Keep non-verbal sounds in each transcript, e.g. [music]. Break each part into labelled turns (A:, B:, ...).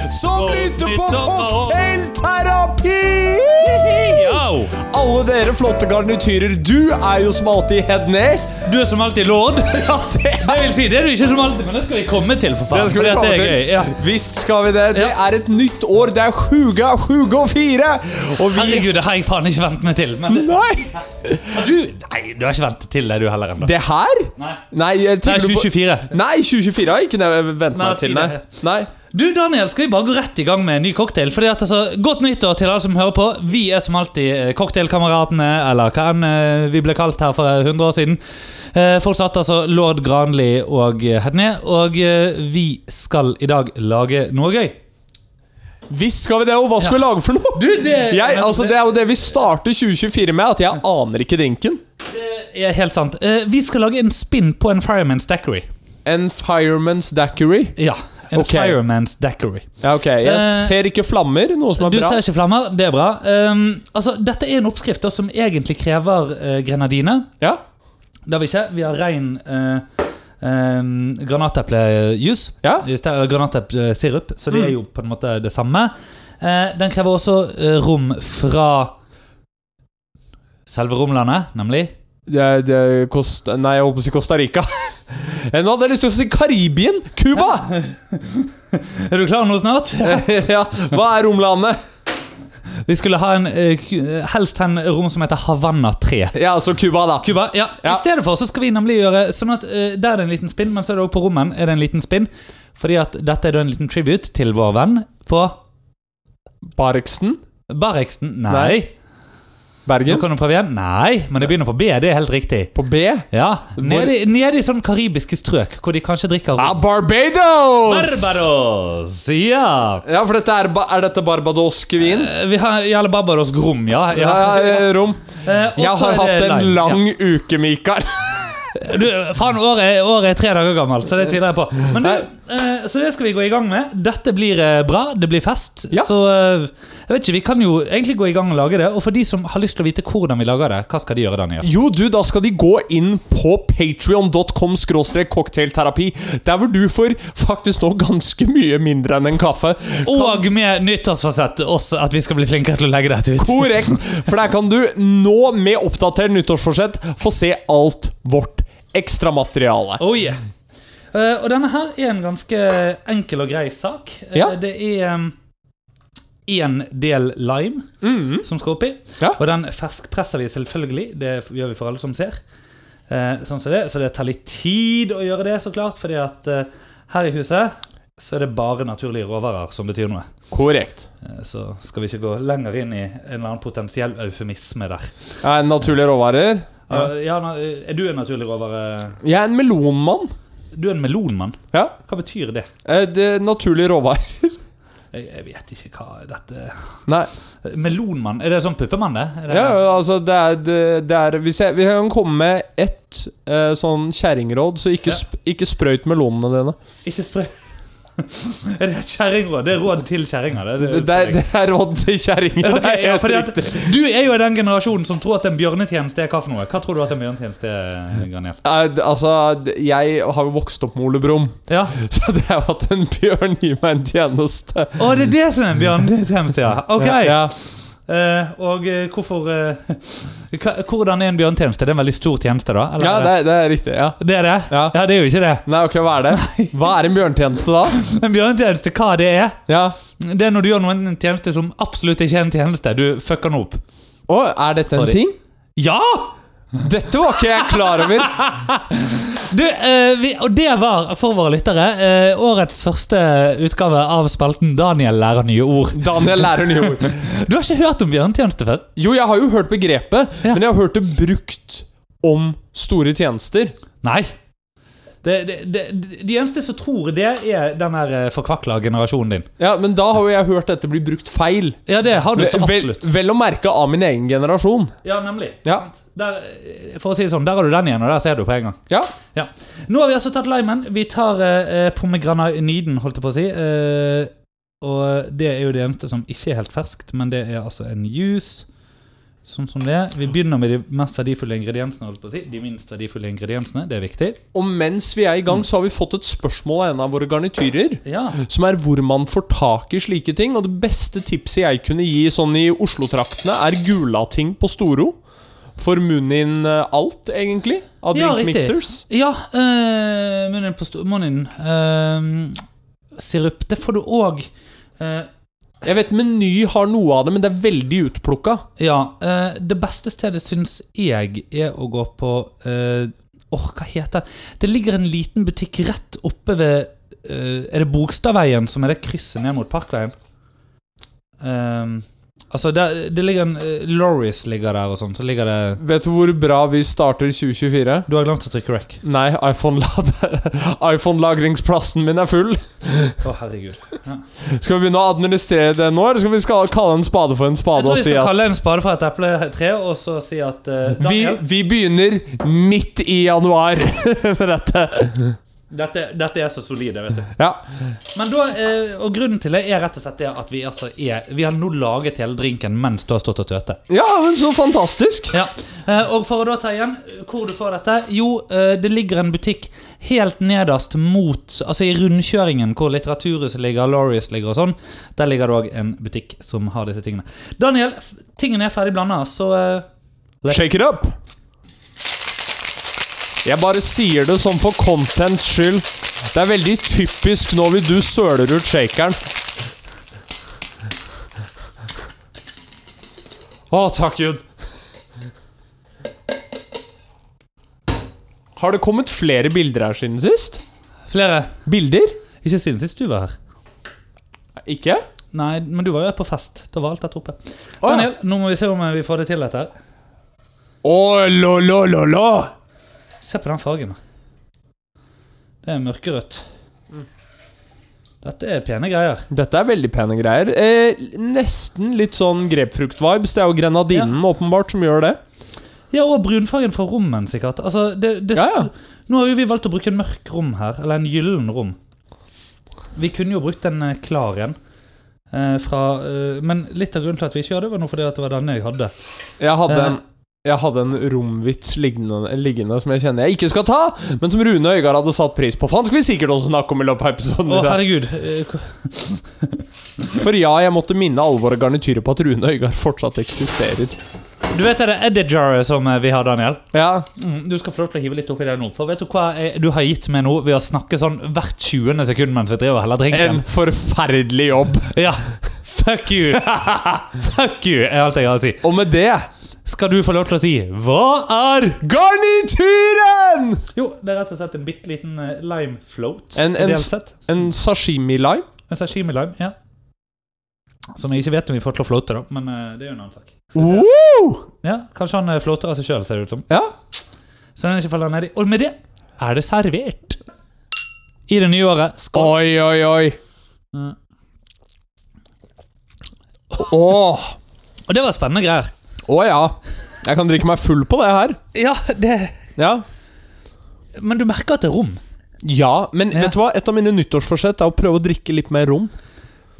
A: Begynte på
B: Nytt opp, og-
A: cocktailterapi!
B: Yo!
A: Alle dere flotte garnityrer, du er jo som alltid head ned.
B: Du er som alltid lord.
A: [laughs] Ja, det
B: Jeg
A: er
B: vil si, det er du ikke som alltid, men det skal vi komme til, for faen.
A: Det skal vi
B: fordi at
A: komme
B: det er
A: til.
B: gøy. Ja.
A: Visst skal vi det. Det
B: Ja.
A: er et nytt år. Det er sjuga, sjuga og fire. Og vi
B: Herregud, det har jeg faen ikke vent meg til. Men
A: Nei!
B: har du, nei, du har ikke ventet til det, du heller. ennå.
A: Det her?
B: Nei.
A: Nei, jeg
B: Det er
A: tenker du på-
B: 2024.
A: Nei, 2024 har jeg ikke nev- vent
B: Nei,
A: meg
B: si
A: til, nei.
B: det.
A: nei.
B: Du, Daniel, skal vi bare gå rett i gang med en ny cocktail? Fordi at altså, Godt nyttår til alle som hører på. Vi er som alltid eh, Cocktailkameratene, eller hva enn eh, vi ble kalt her for eh, 100 år siden. Eh, Folk satt altså lord Granli og eh, Hedné, og eh, vi skal i dag lage noe gøy.
A: Visst skal vi det, og hva skal vi lage for noe?
B: Du, det-
A: jeg, altså, det er jo det vi starter 2024 med, at jeg aner ikke drinken.
B: Det er helt sant. Eh, Vi skal lage en spinn på en Fireman's Dackery.
A: En Fireman's Daiquiri.
B: Ja, en
A: Ok.
B: Fireman's Dackery.
A: Ja, ok. Jeg
B: Eh,
A: ser ikke flammer, noe som er
B: Du
A: bra.
B: ser ikke flammer, det er bra. Um, altså, dette er en oppskrift da, som egentlig krever eh, grenadine.
A: Ja?
B: Det har vi ikke. Vi har rein eh, em, granateplejus.
A: Ja. Mm.
B: I stedet- eller Granateplesirup, så det er jo på en måte det samme. Eh, den krever også eh, rom fra selve romlandet, nemlig.
A: Det, det kost, nei, jeg håper å si Costa Rica. [laughs] Nå hadde jeg lyst til å si Karibien!
B: [laughs]
A: Cuba!
B: Er du klar nå snart?
A: ja, hva er romlandet?
B: [laughs] Vi skulle ha en, eh, ku- helst en rom som heter Havanna 3.
A: Ja, altså Cuba, da.
B: Cuba, ja.
A: Ja.
B: I stedet for så skal vi nemlig gjøre sånn at eh, der er det en liten spinn, men så er det også på rommen er det en liten spinn. Fordi at dette er da en liten tribute til vår venn på
A: Barksen?
B: Barreksen. Nei.
A: Nei.
B: Nå
A: Bergen?
B: kan du prøve igjen. Nei, men det begynner på B. Det er helt riktig.
A: På B? Ja,
B: Ja, Nede, i- nede i sånn karibiske strøk, hvor de kanskje drikker rom.
A: Barbados!
B: Barbados! Ja.
A: Ja, for dette er, ba- er dette Barbados-kvin?
B: Eh, Vi har Jarle Barbados rom, ja.
A: Ja, ja, ja, rom.
B: Eh, og
A: Jeg
B: så er
A: har
B: det
A: hatt en
B: lime.
A: lang uke, Mikael.
B: Ja. Du, faen, året, er- året er tre dager gammelt, så det tviler jeg på. Men du, eh, så det skal vi gå i gang med. Dette blir eh, bra, det blir fest.
A: Ja.
B: Så eh, jeg vet ikke, vi kan jo egentlig gå i gang og lage det. Og for de som har lyst til å vite hvordan vi lager det, hva skal de gjøre, Daniel?
A: Jo, du, da skal de gå inn på patreon.com skråstrek cocktailterapi. Der hvor du får faktisk nå ganske mye mindre enn en kaffe.
B: Og med nyttårsfasett også at vi skal bli flinkere til å legge dette ut.
A: Korrekt! For der kan du nå, med oppdatert nyttårsforsett, få se alt vårt ekstramateriale.
B: Oh yeah. Eh, og denne her er en ganske enkel og grei sak. Eh,
A: Ja.
B: Det er én del lime som skal oppi.
A: Ja.
B: Og den ferskpresser vi selvfølgelig. Det gjør vi for alle som ser. Eh, sånn som det. Så det tar litt tid å gjøre det, så klart. Fordi at eh, her i huset så er det bare naturlige råvarer som betyr noe.
A: Korrekt.
B: Eh, så skal vi ikke gå lenger inn i en eller annen potensiell eufemisme der.
A: Eh, Naturlige råvarer.
B: Ja. ja, na- eh, er du en naturlig råvare?
A: Jeg er en melonmann.
B: Du er en melonmann.
A: Ja.
B: Hva betyr det?
A: Eh, det- Naturlige råvarer.
B: Jeg, jeg vet ikke hva dette
A: [laughs] Nei.
B: Melonmann? Er det sånn puppemann, det? Er det
A: Ja, ja, altså det er, det, det er hvis, jeg, hvis jeg kan komme med ett eh, sånn kjerringråd, så ikke,
B: Ja.
A: sp ikke sprøyt melonene dine.
B: Ikke spre... [laughs] er det et kjerringråd? Det er råd til kjerringer. Det,
A: Det, det, er- det er råd til kjerringer.
B: [laughs] Ok,
A: [laughs] det er
B: ja,
A: helt
B: fordi at
A: riktig.
B: du er jo den generasjonen som tror at en bjørnetjeneste er hva for noe. Hva tror du at en bjørnetjeneste er, Graniel?
A: Eh, d- altså, d- jeg har jo vokst opp med Ole Brumm, [laughs]
B: Ja.
A: så det er jo at en bjørn gir meg en tjeneste.
B: Å, det er det som er en bjørnetjeneste, ja. Ok.
A: [laughs] Ja,
B: Eh, og eh, hvorfor eh, [laughs] hva- Hvordan er en bjørnetjeneste? Det er en veldig stor tjeneste, da?
A: ja det, er- det er riktig. Ja.
B: det er det?
A: Ja.
B: ja, det er jo ikke det. [laughs]
A: Nei, ok, hva er det? Hva er en bjørntjeneste, da?
B: En bjørnetjeneste, hva det er?
A: Ja.
B: Det er når du gjør noen en tjeneste som absolutt ikke er en tjeneste. Du fucker den opp.
A: Å, er dette en
B: Sorry.
A: ting?
B: Ja!
A: Dette var ikke jeg klar over.
B: Du, eh, vi, og det var for våre lyttere eh, årets første utgave av spalten 'Daniel lærer nye ord'.
A: Daniel lærer nye ord.
B: Du har ikke hørt om bjørnetjeneste før?
A: Jo, jeg har jo hørt begrepet,
B: Ja.
A: men jeg har hørt det brukt om store tjenester.
B: Nei. Det, det, det, de eneste som tror det, er den her eh, forkvakla generasjonen din.
A: Ja, Men da har jo jeg hørt dette bli brukt feil.
B: Ja, det har du så
A: Vel,
B: absolutt.
A: vel å merke av min egen generasjon.
B: Ja, nemlig.
A: Ja.
B: Sant? Der, eh, for å si det sånn, der har du den igjen, og der ser du på en gang.
A: Ja,
B: Ja. Nå har vi altså tatt limen. Vi tar uh, pomegraniden, holdt jeg på å si. Eh, og det er jo det eneste som ikke er helt ferskt, men det er altså en juice. Sånn som det er. Vi begynner med de mest verdifulle ingrediensene. holdt på å si. De minst verdifulle ingrediensene, det er viktig.
A: Og mens vi er i gang, så har vi fått et spørsmål av en av våre garnityrer.
B: Ja.
A: Som er hvor man får tak i slike ting. Og det beste tipset jeg kunne gi sånn i Oslo-traktene, er Gulating på Storo. For munnen eh, alt, egentlig. Av
B: Ja,
A: drinkmixers.
B: Ja, eh, munnen på sto- munnen. eh, sirup. Det får du eh, òg.
A: jeg vet Meny har noe av det, men det er veldig utplukka.
B: ja. eh, det beste stedet, syns jeg, er å gå på eh, Åh, hva heter det? Det ligger en liten butikk rett oppe ved eh, Er det Bogstadveien som er det krysset ned mot Parkveien? Eh, altså, det, det ligger en uh, Loris ligger der og sånn. Så ligger det
A: Vet du hvor bra vi starter 2024?
B: Du har glemt å trykke rec.
A: Nei, iPhone-lad- [laughs] iPhone-lagringsplassen min er full.
B: Å, herregud.
A: Skal vi begynne å administrere det nå, eller skal vi skal kalle en spade for en
B: Jeg
A: spade
B: tror
A: og
B: vi
A: si
B: skal
A: at
B: kalle en spade for et epletre og så si at eh,
A: vi,
B: Daniel
A: vi begynner midt i januar [laughs] med dette.
B: Dette, dette er så solide, vet du.
A: Ja.
B: Men da, eh, og Grunnen til det er rett og slett det at vi, altså er, vi har nå laget hele drinken mens du har stått og tøte.
A: ja, men så fantastisk.
B: Ja. Eh, og for å da ta igjen hvor du får dette Jo, eh, det ligger en butikk helt nederst mot Altså i rundkjøringen hvor Litteraturhuset ligger, Laureus ligger og sånn. Der ligger det òg en butikk som har disse tingene. Daniel, f- tingene er ferdig blanda, så eh,
A: Shake it up! Jeg bare sier det sånn for contents skyld. Det er veldig typisk nå vil du søler ut shakeren. Å, takk Gud. Har det kommet flere bilder her siden sist?
B: Flere?
A: Bilder?
B: Ikke siden sist du var her.
A: Ikke?
B: Nei, men du var jo her på fest. Da var alt dette oppe.
A: ja.
B: Daniel, nå må vi se om eh, vi får det til dette. her.
A: Å, lo, lo, lo, lo.
B: Se på den fargen. Det er mørkerødt.
A: Mm.
B: Dette er pene greier.
A: Dette er veldig pene greier. Eh, nesten litt sånn grapefrukt-vibes. Det er jo grenadinen åpenbart som gjør det.
B: Ja, og brunfargen fra rommen, sikkert. Altså, det, det,
A: Ja, ja.
B: Nå har jo vi valgt å bruke en mørk rom her, eller en gyllen rom. Vi kunne jo brukt en eh, klar en. eh, fra, eh, men litt av grunnen til at vi ikke gjør det, var nå fordi at det var denne jeg hadde.
A: Jeg hadde
B: Eh.
A: en jeg hadde en romvits liggende, liggende som jeg kjenner jeg ikke skal ta, men som Rune Øygard hadde satt pris på. For han skal vi sikkert også snakke om i løpet av episoden.
B: Å,
A: i dag.
B: herregud. eh, k-
A: For ja, jeg måtte minne alvoret garnityret på at Rune Øygard fortsatt eksisterer.
B: Du vet det er det jar som eh, vi har, Daniel?
A: Ja,
B: Mm, du skal få lov til å hive litt oppi det nå. For vet du hva jeg, du har gitt meg nå ved å snakke sånn hvert 20. sekund mens jeg driver og heller
A: En
B: drinken?
A: forferdelig jobb.
B: Ja. [laughs] Fuck you! [laughs] Fuck you, er alt jeg har å si.
A: Og med det
B: Skal du få lov til å si 'Hva er'
A: Garnituren!
B: Jo, det er rett og slett en bitte liten eh, lime float.
A: En- en
B: ideelt
A: s-
B: sett.
A: En sashimi-lime.
B: En sashimi-lime. ja Som jeg ikke vet om vi får til å floate, da. Men eh, det er jo en annen sak.
A: Wow!
B: Ja, Kanskje han eh, floater av seg sjøl, ser det ut som.
A: Ja.
B: Så den ikke faller nedi. Og med det er det servert. I det nye året. Skål.
A: Oi, oi, oi.
B: Mm.
A: Åh.
B: Og det var spennende greier.
A: Å ja. Jeg kan drikke meg full på det her.
B: Ja, det
A: Ja.
B: Men du merker at det er rom.
A: ja men
B: Ja.
A: vet du hva? Et av mine nyttårsforsett er å prøve å drikke litt mer rom.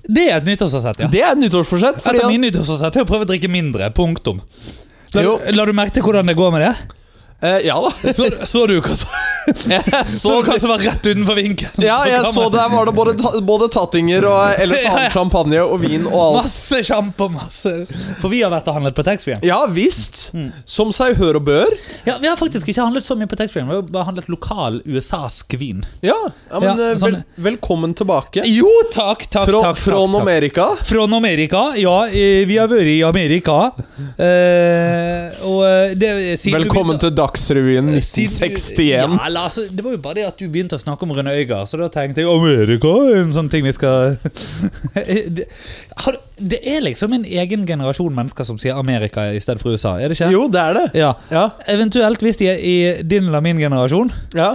B: Det er et nyttårsforsett, ja.
A: Det er et nyttårsforsett.
B: Et
A: fordi
B: av
A: at-
B: mine nyttårsforsett er å prøve å drikke mindre. Punktum. La,
A: Jo.
B: la du merke til hvordan det går med det?
A: Eh, ja
B: [laughs]
A: da.
B: Så, så du hva [laughs] som så du hva som var rett utenfor vinkelen?
A: ja,
B: på
A: jeg
B: kammen?
A: så der var det både, ta både tattinger
B: [laughs]
A: og eller
B: Ja, ja.
A: annen champagne og vin og alt.
B: Masse sjampo, masse For vi har vært og handlet på taxfree-en.
A: Ja visst.
B: Mm.
A: Som seg hør og bør.
B: Ja, vi har faktisk ikke handlet så mye på taxfree-en. Vi har bare handlet lokal USA-sk vin.
A: Ja, ja men
B: Ja,
A: eh, vel,
B: sånn.
A: velkommen tilbake.
B: Jo, takk, takk,
A: Fra,
B: takk.
A: fra
B: takk, takk.
A: Amerika.
B: Fra Amerika, ja. eh, Vi har vært i Amerika. Eh, og eh, det, siden du
A: Velkommen
B: begynte-
A: til Eh, Dagsrevyen
B: siden du-
A: 1961.
B: Ja, eller, altså, det var jo bare det at du begynte å snakke om Rune Øygard, så da tenkte jeg Amerika er en sånn ting vi skal [laughs] det, har, det er liksom en egen generasjon mennesker som sier Amerika i stedet for USA, er det ikke?
A: Jo, det er det.
B: Ja.
A: Ja.
B: Eventuelt, hvis de er i din eller min generasjon,
A: ja.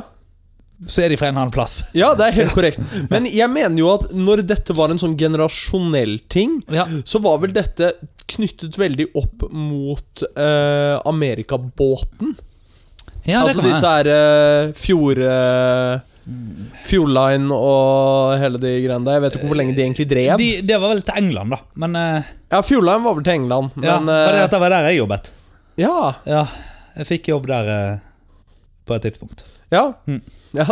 B: så er de fra en annen plass.
A: Ja, det er helt korrekt. Men jeg mener jo at når dette var en sånn generasjonell ting,
B: Ja.
A: så var vel dette knyttet veldig opp mot eh, Amerikabåten.
B: Ja, det
A: altså
B: kan
A: disse
B: være.
A: her eh, fjord... eh, Fjordline og hele de greiene der. Jeg vet ikke hvor lenge de egentlig drev.
B: De, det var vel til England, da. Men eh,
A: Ja, Fjordheim var vel til England,
B: Ja,
A: men
B: for
A: eh,
B: dette var der jeg jobbet.
A: Ja.
B: Ja, jeg fikk jobb der eh, på et tidspunkt.
A: Ja.
C: Mm.
A: ja.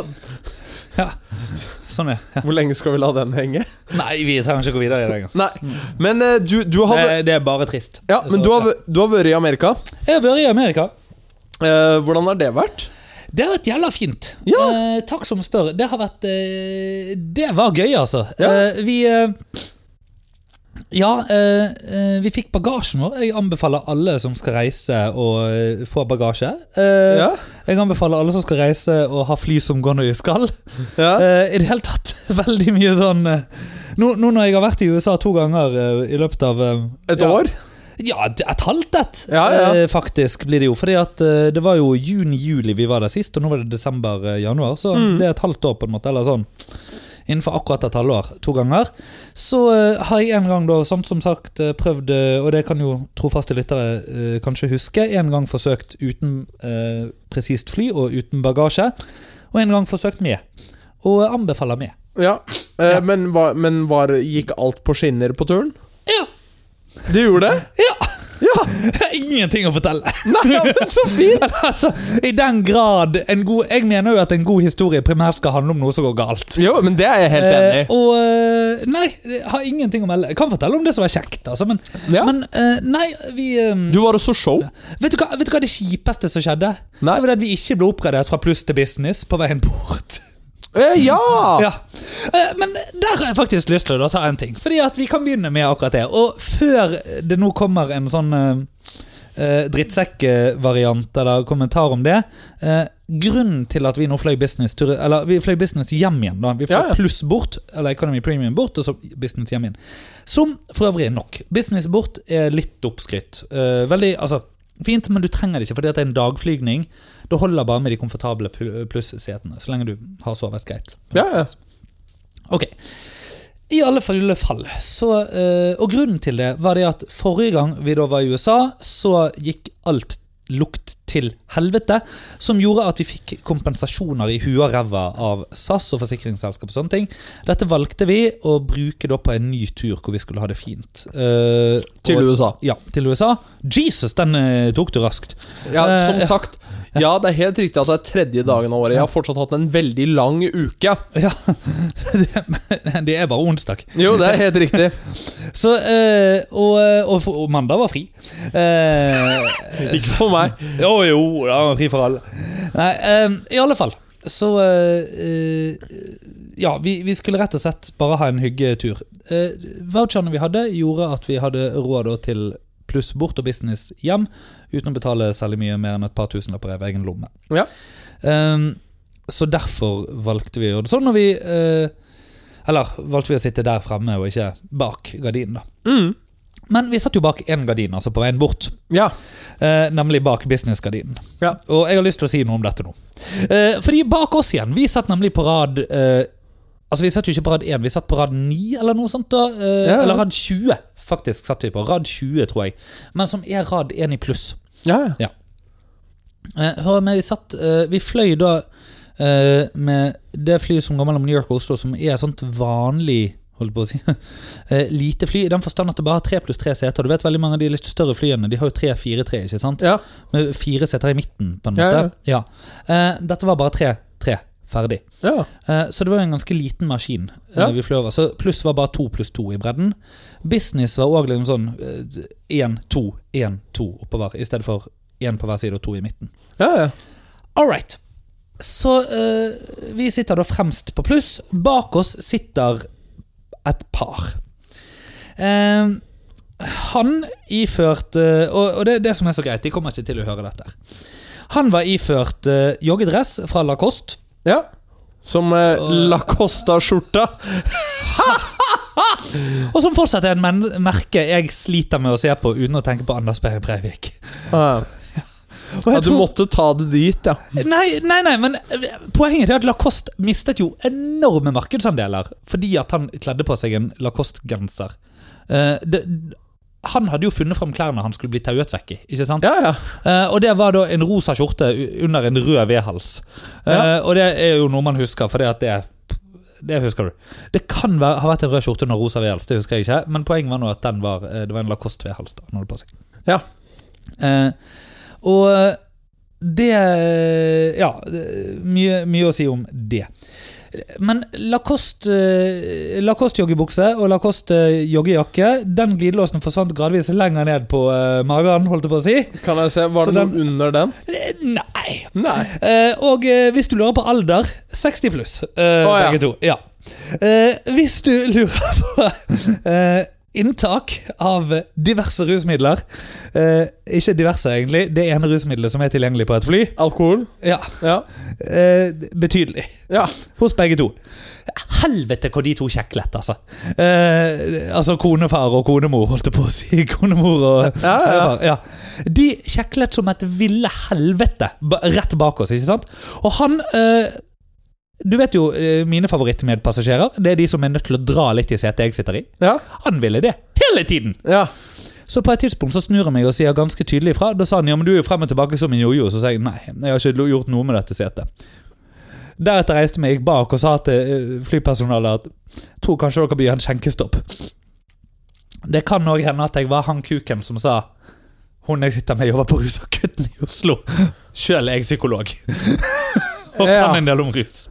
C: Sånn er ja.
A: Hvor lenge skal vi la den henge?
B: Nei, vi trenger ikke gå videre i det engang.
A: Nei, men eh, du, du har
B: Det, det er bare trist.
A: Ja, men
B: Så-
A: du har, du har vært i Amerika.
B: Jeg har vært i Amerika.
A: Eh, hvordan har det vært?
B: Det har vært jævla fint.
A: Ja.
B: Eh, takk som spør. Det har vært eh, Det var gøy, altså.
A: Ja.
B: Eh, vi eh, Ja, eh, eh, vi fikk bagasjen vår. Jeg anbefaler alle som skal reise, å eh, få bagasje. Eh,
A: Ja.
B: Jeg anbefaler alle som skal reise, å ha fly som går når de skal.
A: Ja.
B: Eh, I det hele tatt [laughs] veldig mye sånn eh, nå, nå når jeg har vært i USA to ganger eh, i løpet av eh,
A: Et
B: ja,
A: år?
B: ja, det- et halvt et,
A: Ja, ja.
B: eh, faktisk blir det jo. Fordi at eh, det var jo juni-juli vi var der sist, og nå var det desember-januar. Så
A: Mm.
B: det er et halvt år, på en måte. Eller sånn. Innenfor akkurat et halvår. To ganger. Så eh, har jeg en gang, da, som, som sagt, eh, prøvd eh, Og det kan jo trofaste lyttere eh, kanskje huske. En gang forsøkt uten eh, presist fly og uten bagasje. Og en gang forsøkt med. Og eh, anbefaler med.
A: Ja. Eh,
B: Ja.
A: Men, var, men var, gikk alt på skinner på turen?
B: Ja!
A: Det gjorde det?
B: Ja!
A: [laughs]
B: [laughs]
A: Ja!
B: Ingenting å fortelle!
A: Nei, ja, men så fint!
B: [laughs] altså, I den grad en god, Jeg mener jo at en god historie primært skal handle om noe som går galt.
A: Jo, men det er jeg helt enig
B: Eh,
A: i.
B: og eh, Nei, jeg har ingenting å melde. Jeg kan fortelle om det som var kjekt, altså, men,
A: Ja.
B: men eh, Nei, vi eh,
A: Du var også show.
B: vet, du hva, vet du hva det kjipeste som skjedde?
A: Nei.
B: Det var det at vi ikke ble oppgradert fra pluss til business på veien bort.
A: Eh, ja!
B: Ja. Eh, Men der har jeg faktisk lyst til å ta en ting. Fordi at vi kan begynne med akkurat det. Og før det nå kommer en sånn eh, eh, drittsekk-variant eller kommentar om det eh, Grunnen til at vi nå fløy business tur- Eller vi fløy business hjem igjen, da. Vi fløy
A: Ja, ja.
B: pluss bort, eller Economy Premium bort, og så business hjem igjen. Som for øvrig er nok. Business bort er litt oppskrytt. Eh, veldig, altså Fint, men du trenger det ikke, fordi at det er en dagflygning. Det holder bare med de komfortable pl- plussetene, så lenge du har sovet greit.
A: Ja, ja.
B: Ok. I alle fall, fall så, eh, Og grunnen til det var det at forrige gang vi da var i USA, så gikk alt lukt til helvete. Som gjorde at vi fikk kompensasjoner i huet og ræva av SAS og forsikringsselskap. og sånne ting. Dette valgte vi å bruke da på en ny tur hvor vi skulle ha det fint. Eh,
A: Til
B: og,
A: USA.
B: Ja, til USA. Jesus, den eh, tok du raskt. [laughs]
A: Ja,
B: Eh,
A: som
B: ja.
A: sagt. Ja, det er helt riktig at det er tredje dagen av året. Jeg har fortsatt hatt en veldig lang uke.
B: Ja, det, det er bare onsdag.
A: Jo, [laughs] det er helt riktig.
B: Så, eh, og, og, for- og mandag var fri. Eh,
A: [laughs] Ikke for meg.
B: [laughs] jo, jo, da var fri for alle. Nei, eh, i alle fall. Så eh, eh, Ja, vi, vi skulle rett og slett bare ha en hyggetur. Eh, voucherne vi hadde, gjorde at vi hadde råd da til pluss bort og business hjem uten å betale særlig mye mer enn et par tusenlapper av egen lomme.
A: Ja.
B: Ehm, så derfor valgte vi å gjøre det sånn når vi eh, Eller valgte vi å sitte der fremme og ikke bak gardinen, da.
A: Mm.
B: Men vi satt jo bak én gardin, altså på veien bort.
A: Ja.
B: Eh, nemlig bak businessgardinen.
A: Ja.
B: Og jeg har lyst til å si noe om dette nå. Eh, fordi bak oss igjen, vi satt nemlig på rad eh, Altså Vi satt jo ikke på rad 1, vi satt på rad 9 eller noe sånt. da eh,
A: Ja, ja.
B: Eller rad 20, faktisk. satt vi på Rad 20, tror jeg. Men som er rad 1 i pluss.
A: Ja, ja.
B: Eh, hør med, vi satt eh, Vi fløy da eh, med det flyet som går mellom New York og Oslo, som er et sånt vanlig Holdt på å si [laughs] eh, Lite fly, i den forstand at det bare har tre pluss tre seter. Du vet veldig mange av de litt større flyene De har jo tre, fire, tre, ikke sant?
A: Ja.
B: Med fire seter i midten, på en
A: Ja,
B: måte. Ja, Eh, dette var bare tre, tre. Ferdig.
A: ja.
B: Eh, Så det var jo en ganske liten maskin eh,
A: Ja.
B: vi fløy over. Så pluss var bare to pluss to i bredden. Business var òg liksom sånn eh, én, to, én, to oppover, i stedet for én på hver side og to i midten.
A: ja, ja.
B: All right. Så eh, vi sitter da fremst på pluss. Bak oss sitter et par. Eh, han iført eh, Og, og det er det som er så greit, de kommer ikke til å høre dette. her. Han var iført eh, joggedress fra Lacoste.
A: Ja. Som eh, Lacosta-skjorta.
B: Og som fortsatt er en men merke jeg sliter med å se på uten å tenke på Anders Behre Breivik.
A: Ja,
B: Og
A: ja,
B: jeg
A: du
B: tror-
A: måtte ta det dit, ja.
B: Nei, nei, nei, men eh, poenget er at Lacoste mistet jo enorme markedsandeler fordi at han kledde på seg en Lacoste-genser. Eh, det- han hadde jo funnet fram klærne han skulle bli tauet vekk i. ikke sant?
A: Ja, ja.
B: Eh, og det var da en rosa skjorte u- under en rød vedhals. Eh, Og det er jo noe man husker, for det at det Det husker du. Det kan være, ha vært en rød skjorte under rosa vedhals, det husker jeg ikke. Men poenget var nå at den var, eh, det var en Lacoste vedhals da han hadde på seg.
A: Ja.
B: Eh, og det Ja, det- mye, mye å si om det. Men Lacoste, eh, Lacoste-joggebukse og Lacoste-joggejakke, den glidelåsen forsvant gradvis lenger ned på eh, magen, holdt jeg på å si.
A: Kan jeg se, Var
B: Så
A: det noe under den?
B: Eh, Nei.
A: Nei.
B: Eh, og eh, hvis du lurer på alder 60 pluss, eh,
A: Å, ja.
B: begge to. Ja. Eh, hvis du lurer på eh, inntak av diverse rusmidler eh, Ikke diverse, egentlig. Det ene rusmiddelet som er tilgjengelig på et fly.
A: Alkohol?
B: Ja,
A: Ja.
B: eh, Betydelig.
A: ja.
B: Hos begge to. Helvete hvor de to kjeklet, altså. Eh, altså konefar og konemor, holdt jeg på å si. [laughs] Konemor og
A: Ja, ja, ja.
B: ja. De kjeklet som et ville helvete ba- rett bak oss, ikke sant? Og han eh, Du vet jo eh, mine favorittmedpassasjerer. Det er de som er nødt til å dra litt i setet jeg sitter i.
A: Ja.
B: Han ville det hele tiden!
A: ja.
B: Så på et tidspunkt så snur jeg meg og sier ganske tydelig ifra. Da sa han ja, men du er jo frem og tilbake som en jojo. Så sa jeg nei, jeg har ikke lo- gjort noe med dette setet. Deretter reiste jeg meg bak og sa til eh, flypersonalet at tror kanskje dere bør gjøre en skjenkestopp. Det kan òg hende at jeg var han kuken som sa hun jeg sitter med, jobber på rusakutten i Oslo. Sjøl er jeg psykolog og kan
A: Ja.
B: en del om rus.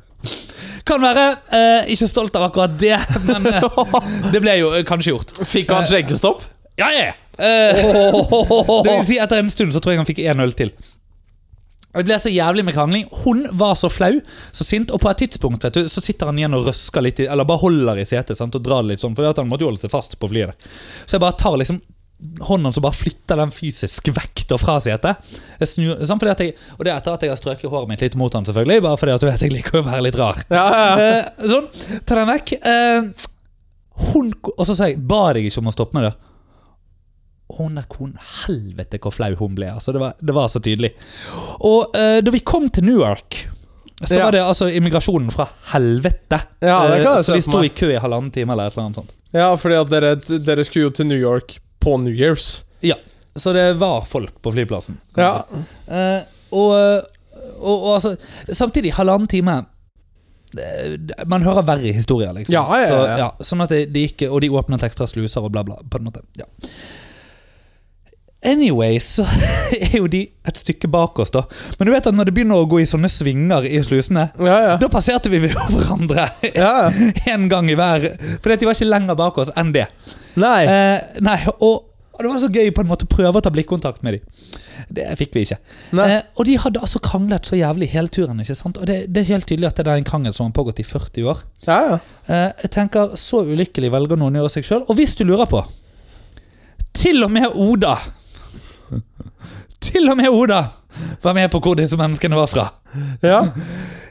B: Kan være. Eh, ikke stolt av akkurat det, men eh,
A: [laughs]
B: det ble jo eh, kanskje gjort. Eh,
A: Fikk han skjenkestopp?
B: Ja, ja, ja. Eh, det vil si, etter en stund så tror jeg han fikk en øl til. Og Det ble så jævlig med krangling. Hun var så flau, så sint, og på et tidspunkt vet du, så sitter han igjen og røsker litt, i- eller bare holder i setet sant, og drar det litt sånn, fordi at han måtte jo holde seg fast på flyet. Så jeg bare tar liksom hånden så bare flytter den fysisk vekk da fra setet. Jeg snur, sant, fordi at jeg, og det er etter at jeg har strøket håret mitt litt mot han selvfølgelig, bare fordi at du vet jeg liker å være litt rar.
A: Ja, ja.
B: Eh, sånn, ta den vekk. Eh, hun, og så sa jeg, ba deg ikke om å stoppe med det. Hun der konen, helvete hvor flau hun ble. Altså, det, var, det var så tydelig. Og eh, da vi kom til Newark, så
A: Ja.
B: var det altså immigrasjonen fra helvete.
A: Ja, det kan
B: Eh,
A: jeg se
B: så vi
A: for
B: sto
A: meg.
B: i kø i halvannen time eller et eller annet sånt.
A: ja fordi at dere, dere skulle jo til New York på New Year's.
B: Ja, så det var folk på flyplassen. kan
A: Ja.
B: man si. Eh, og, og, og altså, samtidig, halvannen time eh, man hører verre historier, liksom.
A: Ja, ja, ja, ja.
B: Så, sånn at det, det gikk, og de åpnet ekstra sluser og bla, bla. På en måte. Ja. Anyway, så [laughs] er jo de et stykke bak oss, da. Men du vet at når det begynner å gå i sånne svinger i slusene,
A: Ja, ja.
B: da passerte vi ved [laughs] hverandre
A: ja. ja.
B: én gang i hver. For de var ikke lenger bak oss enn det.
A: Nei.
B: Eh, nei, og, og det var så gøy på en måte å prøve å ta blikkontakt med dem. Det fikk vi ikke.
A: Nei.
B: Eh, og de hadde altså kranglet så jævlig hele turen. ikke sant? Og det, det er helt tydelig at det er en krangel som har pågått i 40 år.
A: Ja, ja.
B: Eh, jeg tenker, Så ulykkelig velger noen å gjøre seg sjøl. Og hvis du lurer på Til og med Oda! Til og med Oda var med på hvor disse menneskene var fra.
A: Ja.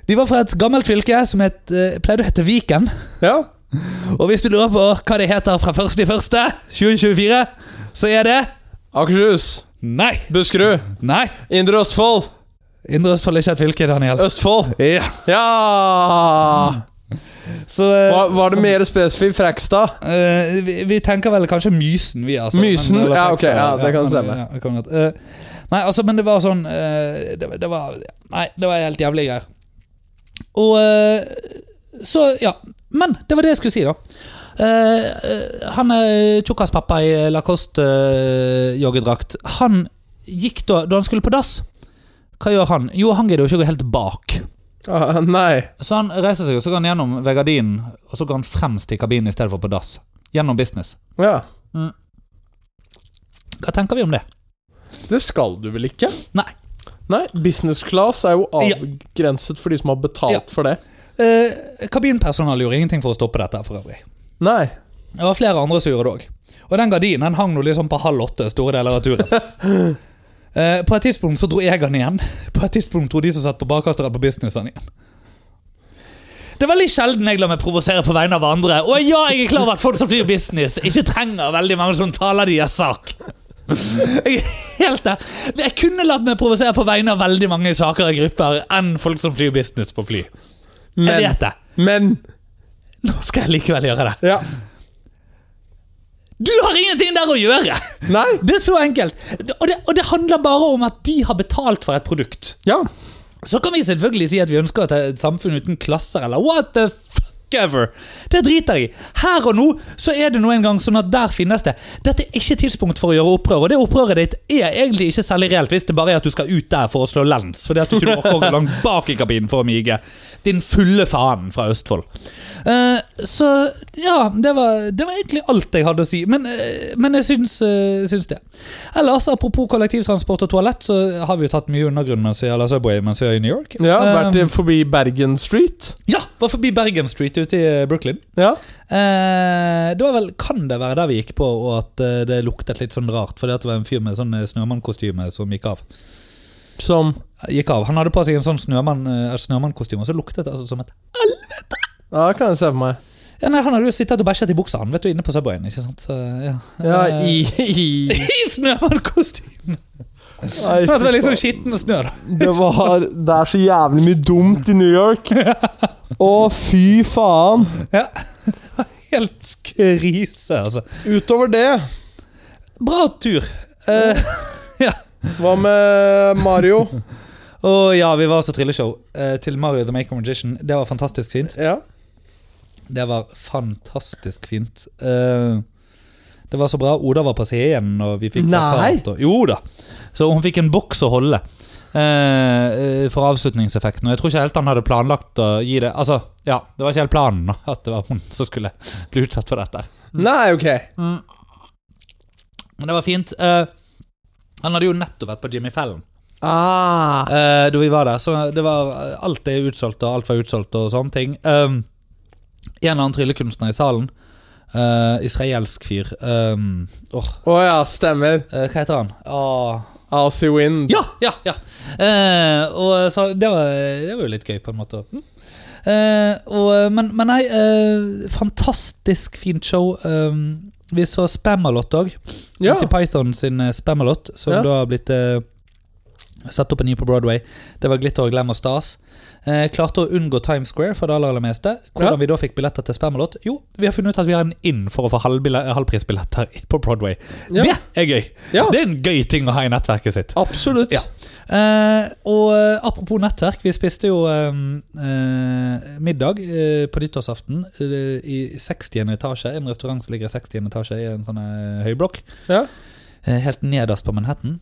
B: De var fra et gammelt fylke som het, eh, pleide å hete Viken.
A: ja.
B: Og hvis du lurer på hva det heter fra 1.1.2024, så er det
A: Akershus.
B: Nei!
A: Buskerud.
B: Nei!
A: Indre Østfold.
B: Indre Østfold er ikke et fylke, Daniel.
A: Østfold.
B: Ja.
A: Ja!
B: Så eh,
A: Var, var det mer spesifikt Frekstad?
B: eh, vi, vi tenker vel kanskje Mysen, vi, altså.
A: Mysen?
B: eller
A: Ja,
B: Frekstad,
A: ok, ja, det kan
B: men,
A: stemme.
B: ja, det kan godt. Eh, nei, altså, men det var sånn eh, det, var- det var Nei, det var helt jævlig greier. Og eh, Så, ja. Men det var det jeg skulle si, da. Eh, eh, han eh, tjukkas pappa i Lacoste-joggedrakt, han gikk da Da han skulle på dass, hva gjør han? Jo, han gidder jo ikke å gå helt bak.
A: Ah, nei.
C: Så han reiser seg, og så går han gjennom ved gardinen, og så går han fremst i kabinen i stedet for på dass. Gjennom business.
A: Ja.
B: Hva tenker vi om det?
A: Det skal du vel ikke?
B: Nei.
A: Nei, Business class er jo
B: Ja.
A: avgrenset for de som har betalt
B: Ja.
A: for det.
B: Eh, kabinpersonalet gjorde ingenting for å stoppe dette, for øvrig.
A: Nei.
B: Det var flere andre som gjorde det òg. Og den gardinen den hang nå liksom på halv åtte store deler av turen. Eh, på et tidspunkt så dro jeg den igjen. På et tidspunkt dro de som satt på bakerste rad på businessen igjen. Det er veldig sjelden jeg lar meg provosere på vegne av andre. Og ja, jeg er klar over at folk som flyr business, ikke trenger veldig mange som taler deres sak. [laughs] Jeg er helt der. Jeg kunne latt meg provosere på vegne av veldig mange saker og grupper enn folk som flyr business på fly. Jeg
A: Men.
B: vet det.
A: Men.
B: Nå skal jeg likevel gjøre det.
A: Ja.
B: Du har ingenting der å gjøre!
A: Nei.
B: Det er så enkelt. Og det, og det handler bare om at de har betalt for et produkt.
A: Ja.
B: Så kan vi selvfølgelig si at vi ønsker et et samfunn uten klasser, eller what the fuck ever. Det driter jeg i. Her og nå så er det nå en gang sånn at der finnes det. Dette er ikke tidspunkt for å gjøre opprør, og det opprøret ditt er egentlig ikke særlig reelt hvis det bare er at du skal ut der for å slå lens, fordi at du ikke orker å gå langt bak i kabinen for å mige. Din fulle faen fra Østfold. Eh, så ja, det var, det var egentlig alt jeg hadde å si, men, eh, men jeg syns, eh, syns det. Ellers, apropos kollektivtransport og toalett, så har vi jo tatt mye undergrunn mens vi, eller Subway mens vi er i New York.
A: Ja, vært
B: Eh,
A: forbi Bergen Street.
B: ja, var forbi Bergen Street ute i eh, Brooklyn.
A: Ja.
B: Eh, det var vel, Kan det være der vi gikk på, og at eh, det luktet litt sånn rart? Fordi at det var en fyr med sånn eh, snømannkostyme som gikk av.
A: Som
B: Gikk av. Han hadde på seg en sånn snømann, eh, snømannkostyme, og så luktet det altså som et
A: Ja, det kan jeg se for meg.
B: ja, nei, Han hadde jo sittet og bæsjet i buksa, han, vet du, inne på Subwayen. ikke sant? Så, ja.
A: Ja,
B: Eh,
A: i,
B: [laughs]
A: i
B: I snømannkostyme!
A: [laughs] Nei,
B: Som at det var
A: [laughs]
B: litt sånn skitten snø, da. [laughs]
A: Det var Det er så jævlig mye dumt i New York. Å, fy faen.
B: Helt skrise, altså.
A: Utover det,
B: Bra tur. Eh,
A: hva med Mario?
B: og ja, vi var også trilleshow eh, til Mario the Maker Magician. Det var fantastisk fint.
A: Ja.
B: Det var fantastisk fint. Eh, det var så bra. Oda var på scenen, og vi fikk
A: Nei!
B: plakat og- Jo da. Så hun fikk en boks å holde eh, eh, for avslutningseffekten. Og jeg tror ikke helt han hadde planlagt å gi det Altså, ja, det var ikke helt planen da, at det var hun som skulle [laughs] bli utsatt for dette.
A: Nei, ok.
B: Men det var fint. Eh, han hadde jo nettopp vært på Jimmy Fallon.
A: Ah.
B: Eh, da vi var der. Så det var, eh, alt er utsolgt, og alt var utsolgt og sånne ting. Um, en eller annen tryllekunstner i salen. eh, israelsk fyr. Um, åh,
A: Å ja, stemmer.
B: eh, hva heter han? Ah,
A: Aussie Wind.
B: ja, ja, ja! Eh, og så det var, det var jo litt gøy, på en måte. Mm. Eh, og, men, men nei, eh, fantastisk fint show. Um, vi så Spamalot òg.
A: Ja.
B: Monty Python sin eh, Spamalot, som
A: Ja.
B: da har blitt eh, satt opp en ny på Broadway. Det var glitter og glem og stas. Eh, klarte å unngå Times Square for det aller, aller meste. Hvordan
A: Ja.
B: vi da fikk billetter til Spamalot? Jo, vi har funnet ut at vi har en inn for å få halvbille- eh, halvprisbilletter på Broadway.
A: Ja.
B: Det er gøy!
A: Ja.
B: Det er en gøy ting å ha i nettverket sitt.
A: Absolutt.
B: Ja. Eh, og eh, apropos nettverk, vi spiste jo eh, eh, middag eh, på nyttårsaften eh, i 60. etasje. En restaurant som ligger i 60. etasje i en sånn eh, høyblokk.
A: Ja.
B: Eh, helt nederst på Manhattan.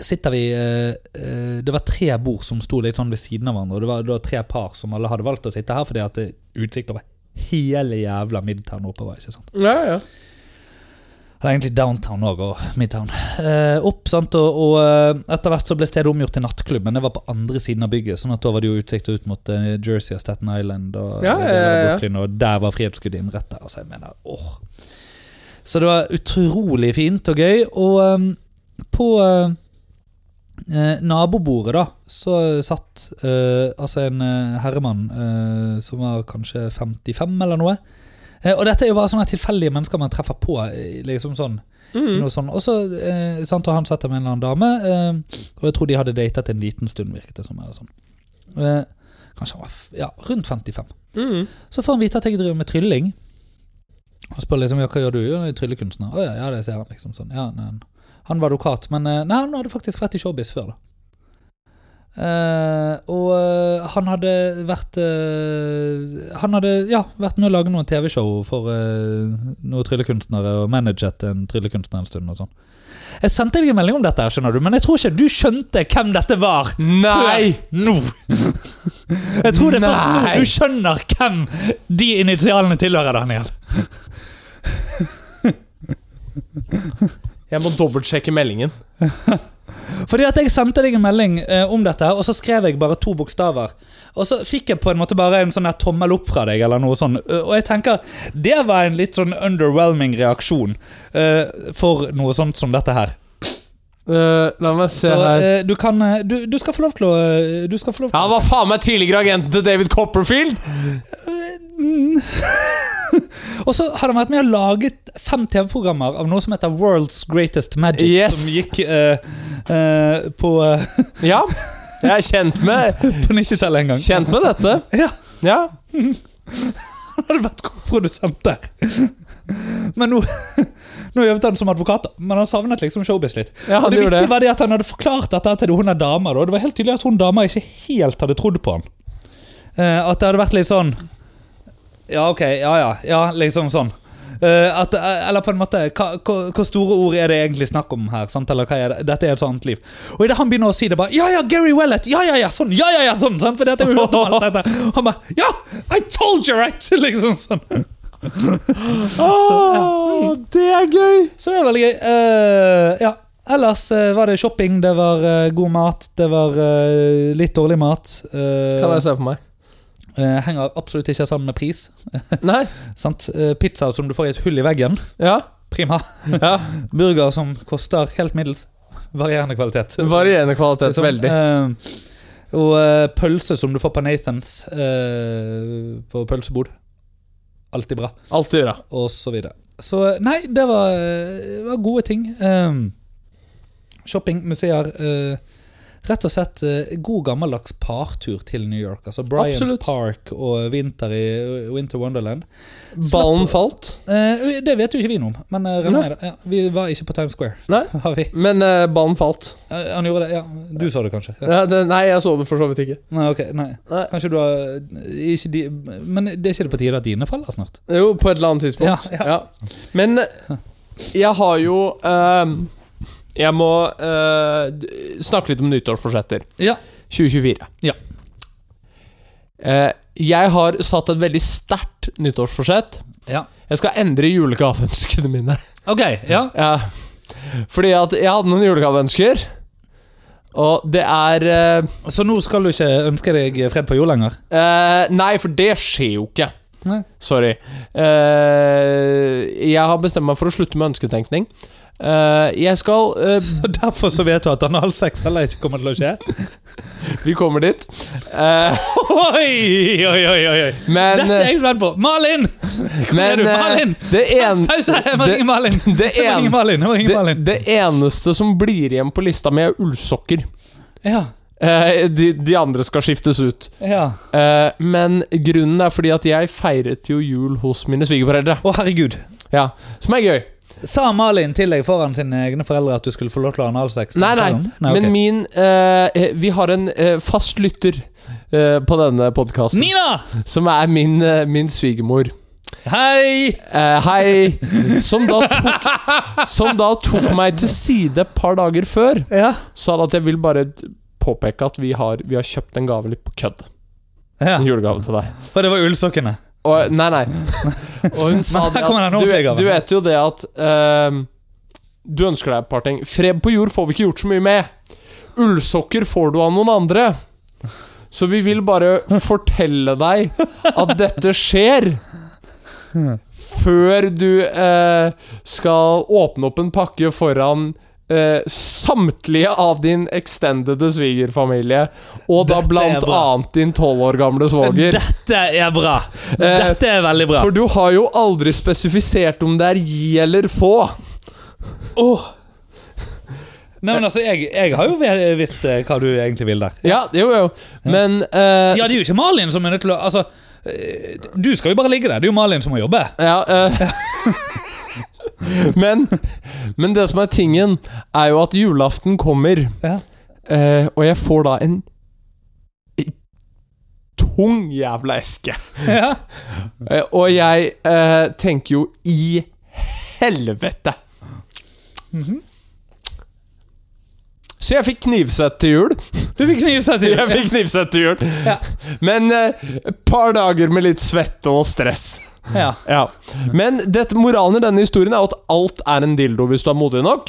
B: Sitter vi eh, eh, Det var tre bord som sto litt sånn ved siden av hverandre. Og det var, det var tre par som alle hadde valgt å sitte her fordi at det er utsikt over hele jævla Midtown oppover. ikke sant?
A: Ja, ja.
B: Det er egentlig downtown òg, og midtown. Eh, opp, sant, og, og eh, etter hvert så ble stedet omgjort til nattklubb, men det var på andre siden av bygget, sånn at da var det jo utsikt ut mot eh, Jersey og Staten Island og,
A: Ja,
B: og
A: ja,
B: deler av
A: ja, ja.
B: Brooklyn, og der var frihetsskuddet inn rett der. Altså, jeg mener, åh. Så det var utrolig fint og gøy, og eh, på eh, eh, nabobordet, da, så satt eh, altså en eh, herremann eh, som var kanskje 55 eller noe. Eh, og dette er jo bare sånne tilfeldige mennesker man treffer på. eh, liksom sånn
A: Mm.
B: noe sånn. Og så eh, sant, og han satt der med en eller annen dame, eh, og jeg tror de hadde datet en liten stund, virket det som. Eller sånn. eh, kanskje han var f ja, rundt 55.
A: Mm.
B: Så får han vite at jeg driver med trylling. Og spør liksom, ja, hva gjør du? Jo, jeg er tryllekunstner. Å ja, ja, det ser han liksom sånn. Ja, nei, han- han var advokat, men eh, nei, han hadde faktisk vært i showbiz før, da. Eh, og eh, han hadde vært eh, Han hadde ja, vært med å lage noen TV-show for eh, noen tryllekunstnere, og managet en tryllekunstner en stund og sånn. Jeg sendte deg en melding om dette, her, skjønner du, men jeg tror ikke du skjønte hvem dette var.
A: Nei!
B: Nå! [laughs] Jeg tror det er først nå
A: Nei.
B: du skjønner hvem de initialene tilhører, Daniel.
A: Jeg må dobbeltsjekke meldingen.
B: Fordi at jeg sendte deg en melding eh, om dette, her, og så skrev jeg bare to bokstaver. Og så fikk jeg på en måte bare en sånn her tommel opp fra deg, eller noe sånt. Eh, Og jeg tenker, det var en litt sånn underwhelming reaksjon eh, for noe sånt som dette her.
A: Eh, la meg se
B: Så
A: her.
B: eh, du kan eh, du, du skal få lov til å eh, Du skal få lov til
A: Han var faen meg tidligere agenten til David Copperfield!
B: Og så har han vært med og laget fem TV-programmer av noe som heter World's Greatest Magic.
A: Yes.
B: Som gikk eh, eh, på, eh,
A: Ja, jeg er kjent med
B: på 90-tallet en gang.
A: Kjent med dette.
B: Ja,
A: Ja.
B: Han hadde vært produsent der. [laughs] Men nå, [laughs] nå jobbet han som advokat, da. men han savnet liksom showbiz litt.
A: Ja, han
B: og det
A: gjorde
B: viktige
A: det.
B: var det at han hadde forklart dette til hun er dama. da. Det var helt tydelig at hun dama ikke helt hadde trodd på han. Eh, at det hadde vært litt sånn Ja, ok. Ja, ja. ja liksom sånn. Eh, at, eh, eller på en måte hva, hva, hva store ord er det egentlig snakk om her? Sant? Eller hva er det? Dette er et sånt liv. Og idet han begynner å si det, bare Ja, ja, Gary Wellett! Ja, ja, ja, sånn! Ja, ja, ja, sånn! Sant? For dette har vi hørt om alt dette. Han bare Ja! I told you right! [laughs] Liksom
A: [laughs]
B: sånn.
A: Åh, det er gøy!
B: Så det er veldig gøy. Eh, ja. Ellers eh, var det shopping, det var eh, god mat, det var eh, litt dårlig mat. Eh,
A: Kan jeg se for meg?
B: eh, henger absolutt ikke sammen med pris.
A: Nei?
B: Sant? Eh, pizza som du får i et hull i veggen.
A: Ja?
B: Prima.
A: ja.
B: Burger som koster helt middels. Varierende kvalitet.
A: Varierende kvalitet.
B: Liksom,
A: Veldig.
B: eh, og eh, pølse som du får på Nathans eh, på pølsebod. Alltid bra.
A: Alltid bra.
B: Og så videre. Så eh, nei, det var, eh, var gode ting. Eh, shopping, museer. eh, Rett og slett eh, god gammeldags partur til New York. Altså Bryant
A: Absolutt.
B: Park og vinter i Winter Wonderland.
A: Ballen falt.
B: Eh, det vet jo ikke vi noe om, men eh, regner med det. ja, vi var ikke på Times Square.
A: Nei.
B: [laughs] Har vi?
A: Men eh, ballen falt.
B: Eh, han gjorde det, ja. Du sa det kanskje? Ja.
A: Ja, det, nei, jeg så det for så vidt ikke.
B: Nei, ok, nei.
A: Nei.
B: Kanskje du har eh, ikke de, Men det er ikke det på tide at dine faller snart?
A: Jo, på et eller annet tidspunkt.
B: Ja,
A: Ja, Men eh, jeg har jo ehm, Jeg må eh, d- snakke litt om nyttårsforsetter.
B: Ja.
A: 2024.
B: Ja.
A: Eh, jeg har satt et veldig sterkt nyttårsforsett.
B: Ja.
A: Jeg skal endre julegaveønskene mine.
B: Ok, ja.
A: Ja. Fordi at jeg hadde noen julegaveønsker, og det er eh,
B: Så nå skal du ikke ønske deg fred på jord lenger? [laughs]
A: Eh, nei, for det skjer jo ikke.
B: Nei.
A: Sorry. Eh, jeg har bestemt meg for å slutte med ønsketenkning. Eh, jeg skal eh,
B: Og derfor så vet du at anal sex heller ikke kommer til å skje?
A: Vi kommer dit. Eh,
B: Oi, oi, oi, oi, oi.
A: men
B: Dette er jeg spent på. Malin!
A: men,
B: er du,
A: eh,
B: Malin?
A: det, en,
B: [laughs] Pause! Jeg må
A: det-
B: ringe Malin.
A: det,
B: Jeg må
A: en,
B: ringe Malin. Jeg må ringe
A: det,
B: Malin.
A: det eneste som blir igjen på lista mi, er ullsokker.
B: Ja.
A: Eh, de, de andre skal skiftes ut.
B: ja.
A: Eh, men grunnen er fordi at jeg feiret jo jul hos mine svigerforeldre.
B: Å, herregud.
A: Ja, som er gøy.
B: Sa Malin til deg foran sine egne foreldre at du skulle få lov til å ha analsex?
A: Nei, nei,
B: ok.
A: Men min eh, Vi har en eh, fast lytter eh, på denne podkasten,
B: Nina!
A: som er min, eh, min svigermor.
B: Hei!
A: Eh, hei! Som da, tok, som da tok meg til side et par dager før.
B: Ja.
A: Sa at jeg vil bare påpeke at vi har, vi har kjøpt en gave litt på kødd.
B: ja.
A: En julegave til deg.
B: Og det var ullsokkene.
A: Og, nei,
B: [laughs]
A: nei. Og hun sa
B: Men her
A: det
B: kommer
A: at
B: den
A: du,
B: ordentlige gaven.
A: du vet jo det at ehm, Du ønsker deg et par ting. Fred på jord får vi ikke gjort så mye med. Ullsokker får du av noen andre. Så vi vil bare fortelle deg at dette skjer. Før du eh, skal åpne opp en pakke foran eh, samtlige av din extendede svigerfamilie, og da
B: Dette er
A: blant
B: bra.
A: annet din tolv år gamle svoger.
B: Dette er bra! Dette er veldig bra.
A: For du har jo aldri spesifisert om det er gi eller få.
B: Åh. Nei, men altså, jeg, jeg har jo ve- visst eh, hva du egentlig vil der.
A: Ja, jo, jo. Men eh,
B: Ja, det er jo ikke Malin som er nødt til å Altså, eh, du skal jo bare ligge der. Det er jo Malin som må jobbe.
A: ja, eh, [laughs] men, men det som er tingen, er jo at julaften kommer,
B: Ja.
A: eh, og jeg får da en tung jævla eske.
B: [laughs] Ja.
A: Eh, og jeg eh, tenker jo i helvete! Mhm. Så jeg fikk knivsett til jul.
B: Du fikk knivsett til.
A: [laughs] Jeg fikk knivsett til jul.
B: Ja.
A: Men eh, et par dager med litt svette og stress.
B: Ja.
A: Ja. Men dette, moralen i denne historien er jo at alt er en dildo hvis du er modig nok.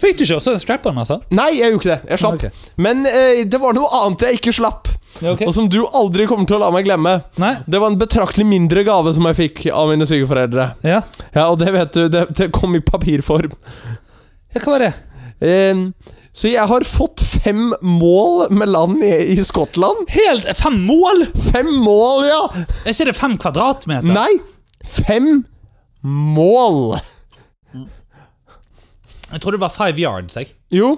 B: Fikk du ikke også strap-on, altså?
A: Nei, jeg gjorde ikke det. Jeg slapp.
B: Ah, Ok.
A: Men eh, det var noe annet jeg ikke slapp,
B: Ja, ok.
A: og som du aldri kommer til å la meg glemme.
B: Nei?
A: Det var en betraktelig mindre gave som jeg fikk av mine svigerforeldre.
B: Ja.
A: Ja, og det vet du, det, det kom i papirform.
B: ja, hva var det?
A: Ehm, så jeg har fått fem mål med land i, i Skottland.
B: Helt Fem mål?!
A: Fem mål, ja!
B: Er ikke det fem kvadratmeter?
A: Nei, fem mål.
B: Jeg trodde det var five yards. jeg
A: Jo,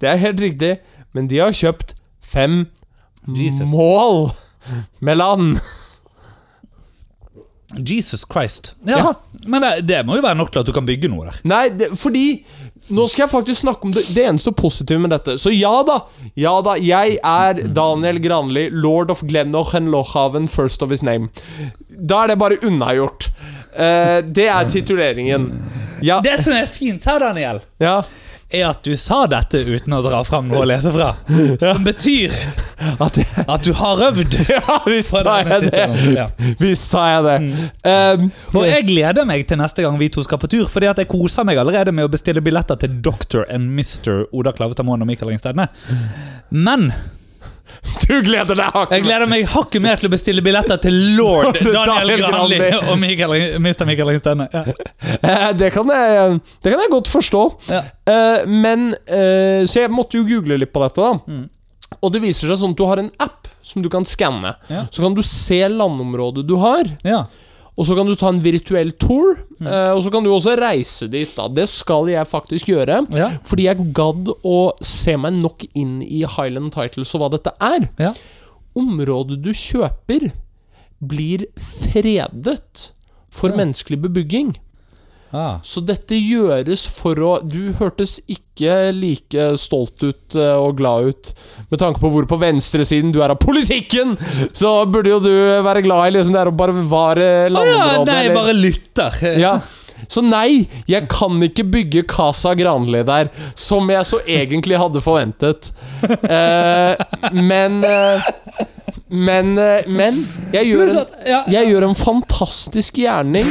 A: det er helt riktig, men de har kjøpt fem
B: Jesus.
A: mål med land.
B: Jesus Christ.
A: Ja.
B: Men det, det må jo være nok til at du kan bygge noe der.
A: Nei, det, fordi Nå skal jeg faktisk snakke om det, det eneste positive med dette. Så ja da, ja da, jeg er Daniel Granli, lord of Glenochenlochhaven, first of his name. Da er det bare unnagjort. Eh, det er tituleringen. Ja,
B: Det som er fint her, Daniel,
A: ja. [laughs]
B: er at du sa dette uten å dra fram noe å lese
A: [laughs]
B: fra. Som betyr
A: At jeg,
B: at du har øvd.
A: ja visst
B: på
A: sa
B: denne
A: jeg det.
B: tittelen. Ja.
A: Visst sa jeg det. Um,
B: Og jeg gleder meg til neste gang vi to skal på tur, fordi at jeg koser meg allerede med å bestille billetter til Dr. and Mr. Oda Klavestad Moen og Mikael Ringstedne. Men
A: [laughs] du gleder deg,
B: jeg
A: Hakken.
B: gleder meg hakket mer til å bestille billetter til
A: [laughs]
B: lord Daniel
A: Daniel Granli.
B: Granli og Mikael, Ring- Mr. Mikael Ringstedne. Ja.
A: Eh, det, kan jeg, det kan jeg godt forstå.
B: Ja.
A: Eh, men eh, Så jeg måtte jo google litt på dette, da.
B: Mm.
A: Og det viser seg sånn at du har en app som du kan skanne.
B: Ja.
A: Så kan du se landområdet du har,
B: Ja.
A: og så kan du ta en virtuell tour.
B: Mm.
A: eh, og så kan du også reise dit, da. Det skal jeg faktisk gjøre.
B: Ja.
A: Fordi jeg gadd å se meg nok inn i Highland Titles og hva dette er.
B: Ja.
A: Området du kjøper, blir fredet for
B: Ja.
A: menneskelig bebygging.
B: Ah.
A: Så dette gjøres for å Du hørtes ikke like stolt ut eh, og glad ut med tanke på hvor på venstresiden du er av politikken! Så burde jo du være glad i liksom det her å bare bevare
B: Å ja,
A: landområdet.
B: Ah, nei, jeg
A: eller-
B: bare lytter.
A: ja. Så nei, jeg kan ikke bygge Casa Granli der, som jeg så egentlig hadde forventet. Eh, men eh, Men eh, Men jeg gjør
B: Pluss
A: en,
B: at ja.
A: jeg gjør en fantastisk gjerning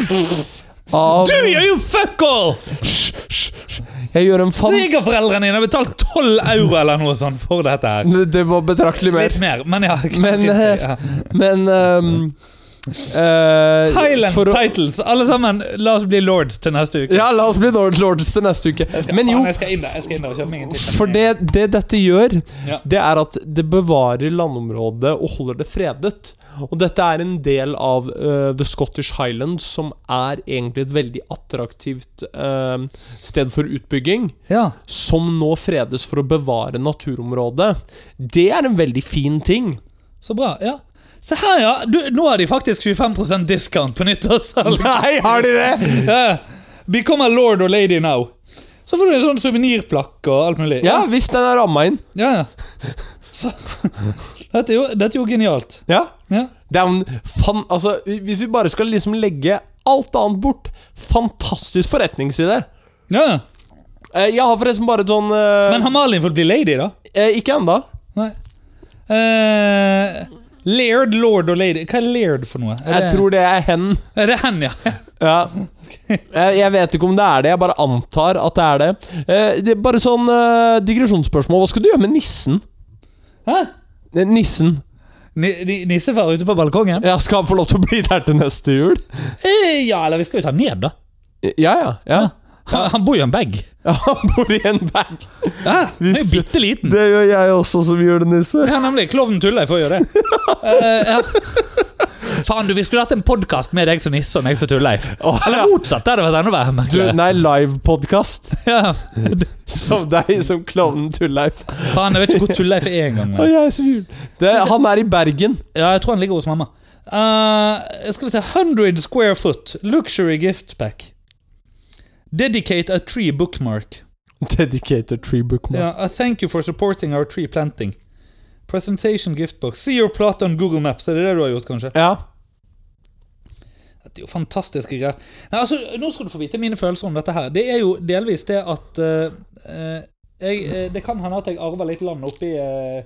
A: av
B: Du gjør jo fuck all!
A: Hysj, hysj, hysj. Jeg gjør en fan...
B: Svigerforeldrene dine har betalt 12 euro eller noe sånt for dette her.
A: Det var betraktelig mer.
B: Litt mer, men ja.
A: Men, eh,
B: ja.
A: Men um, eh,
B: Highland
A: for å-
B: Titles. Alle sammen, la oss bli lords til neste uke.
A: Ja, la oss bli Lord Lords til neste uke. Men jo,
B: Faen, jeg skal inn der, jeg skal inn der og kjøpe meg en tittel.
A: for det, det dette gjør,
B: Ja.
A: det er at det bevarer landområdet og holder det fredet. Og dette er en del av eh, The Scottish Highlands, som er egentlig et veldig attraktivt eh, sted for utbygging.
B: Ja.
A: Som nå fredes for å bevare naturområdet. Det er en veldig fin ting.
B: Så bra. ja. Se her, ja. Du, nå har de faktisk 25 discount på nyttårssalg.
A: [laughs] Nei, har de det?
B: [laughs] Ja. Become a lord or lady now. Så får du en sånn suvenirplakke og alt mulig.
A: Ja, hvis den er ramma inn.
B: ja, ja. Så, [laughs] dette, er jo, dette er jo genialt.
A: Ja.
B: Ja.
A: Det er jo en fan... Altså, hvis vi bare skal liksom legge alt annet bort Fantastisk forretningsidé.
B: ja. ja.
A: Eh, jeg har forresten bare et sånn eh,
B: Men har Malin fått bli lady, da?
A: eh, Ikke ennå.
B: Nei. Eh, Laird, lord og lady Hva er laird for noe? Er
A: Jeg tror det er hen.
B: Er det hen, ja?
A: Ja. Eh, jeg vet ikke om det er det, jeg bare antar at det er det. Eh, det er bare sånn eh, digresjonsspørsmål. Hva skal du gjøre med nissen?
B: Hæ?
A: Eh, Nissen.
B: Ni- ni- Nissefar ute på balkongen?
A: Ja, skal han få lov til å bli der til neste jul?
B: Eh, ja, eller vi skal jo ta ned, da.
A: Eh, Ja, ja. ja.
B: Han, han bor jo i en bag.
A: ja [laughs] han bor i en bag.
B: Ja, han er
A: Hvis-
B: jo bitte liten.
A: Det gjør jeg også som julenisse.
B: Ja, nemlig. Klovnen tuller, jeg får gjøre det. Eh, ja. Faen, du, vi skulle hatt en podkast med deg som nisse og meg som tulleif.
A: Åh,
B: Eller motsatt, det hadde vært enda verre.
A: Du,
B: merkelig.
A: nei, livepodkast.
B: Ja.
A: Som deg som klovnen Tulleif.
B: Faen, jeg vet ikke hvor tulleif er engang.
A: Og jeg som jul. Det, han er i Bergen.
B: Ja, jeg tror han ligger hos mamma. Eh, skal vi se 100 square foot luxury gift pack. Dedicate a tree bookmark.
A: Dedicated tree bookmark.
B: Yeah, a thank you for supporting our tree planting. Presentation gift box. See your plot on Google Maps. Er det det du har gjort, kanskje?
A: Ja.
B: Det er jo fantastiske greier. Nei, altså, Nå skal du få vite mine følelser om dette her. Det er jo delvis det at eh, eh, jeg, eh, Det kan hende at jeg arver litt land oppi, eh,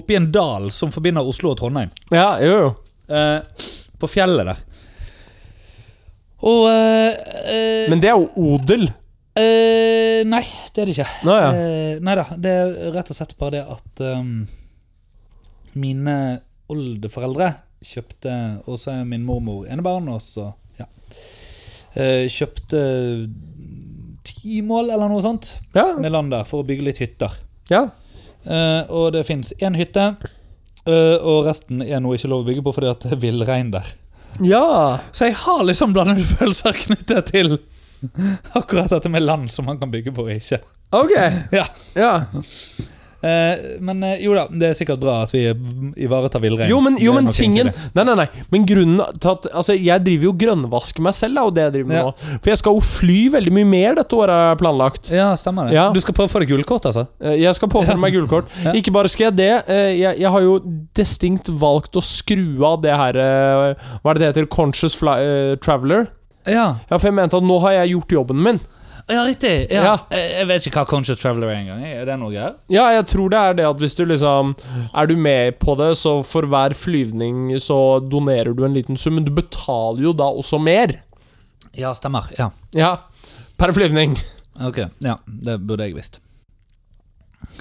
B: oppi en dal som forbinder Oslo og Trondheim.
A: ja, jo, jo.
B: Eh, på fjellet der. Og eh, eh,
A: Men det er jo odel.
B: eh, Nei, det er det ikke.
A: Nå, ja.
B: Eh, nei da. Det er rett og slett bare det at ehm, mine oldeforeldre kjøpte Og så er min mormor enebarn, og så ja. Eh, kjøpte ti mål eller noe sånt
A: Ja.
B: med land der for å bygge litt hytter.
A: ja.
B: Eh, og det fins én hytte, eh, og resten er noe ikke lov å bygge på fordi at det er villrein der.
A: ja.
B: Så jeg har liksom blandede [laughs] følelser knyttet til akkurat dette med land som man kan bygge på og ikke.
A: Ok.
B: Ja.
A: Ja.
B: Eh, men eh, jo da, det er sikkert bra at vi eh, ivaretar villrein.
A: Jo, men,
B: Det
A: jo,
B: er
A: men
B: nok
A: tingen
B: egentlig det.
A: Nei, nei, nei. Men grunnen til at Altså, jeg driver jo og grønnvasker meg selv, er jo det jeg driver med
B: Ja.
A: nå. For jeg skal jo fly veldig mye mer dette året, er planlagt.
B: Ja, stemmer det.
A: Ja.
B: Du skal prøve å få deg gullkort, altså?
A: Eh, Jeg skal påføre meg gullkort.
B: Ja.
A: Ikke bare skal jeg det, eh, jeg, jeg har jo distinkt valgt å skru av det her eh, Hva er det det heter? Conscious fly, eh, Traveler.
B: Ja,
A: Ja, for jeg mente at nå har jeg gjort jobben min.
C: Ja, riktig. Ja.
A: Ja.
C: Jeg, jeg vet ikke hva Conscious Traveler er engang. Er det noe her?
A: Ja, jeg tror det er det at hvis du liksom Er du med på det, så for hver flyvning så donerer du en liten sum, men du betaler jo da også mer.
C: Ja, stemmer. Ja.
A: Ja. Per flyvning. [laughs]
B: ok. Ja, Det burde jeg visst.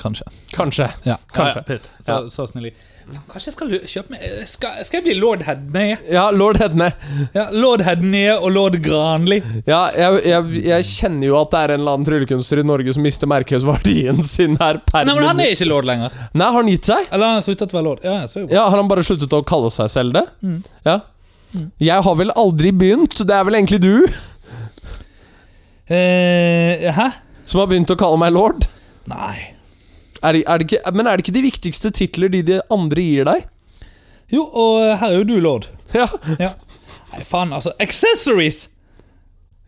B: Kanskje.
A: Kanskje.
B: Ja,
A: Kanskje.
B: Ja, pitt. så,
A: Ja.
B: så snill. Kanskje jeg skal lu- kjøpe meg Skal, skal jeg bli lord Hedne?
A: Ja, lord Hedne.
B: Ja, lord Hedne og lord Granli.
A: Ja, jeg, jeg, jeg kjenner jo at det er en eller annen tryllekunstner i Norge som mister merkeverdien [laughs] sin her per
B: Nei, men han
A: minutt.
B: er ikke lord lenger.
A: Nei, har han gitt seg?
B: Eller han har sluttet å være lord. Ja, så er det jo.
A: Ja, Har han bare sluttet å kalle seg selv det?
B: Mm.
A: Ja. Jeg har vel aldri begynt, det er vel egentlig du
B: Eh, hæ?
A: som har begynt å kalle meg lord.
B: Nei.
A: Er, det- er det ikke, men er det ikke de viktigste titler de, de andre gir deg? [laughs]
B: Jo, og eh, her er jo du lord.
A: Ja,
B: Ja. Nei, faen, altså. Accessories!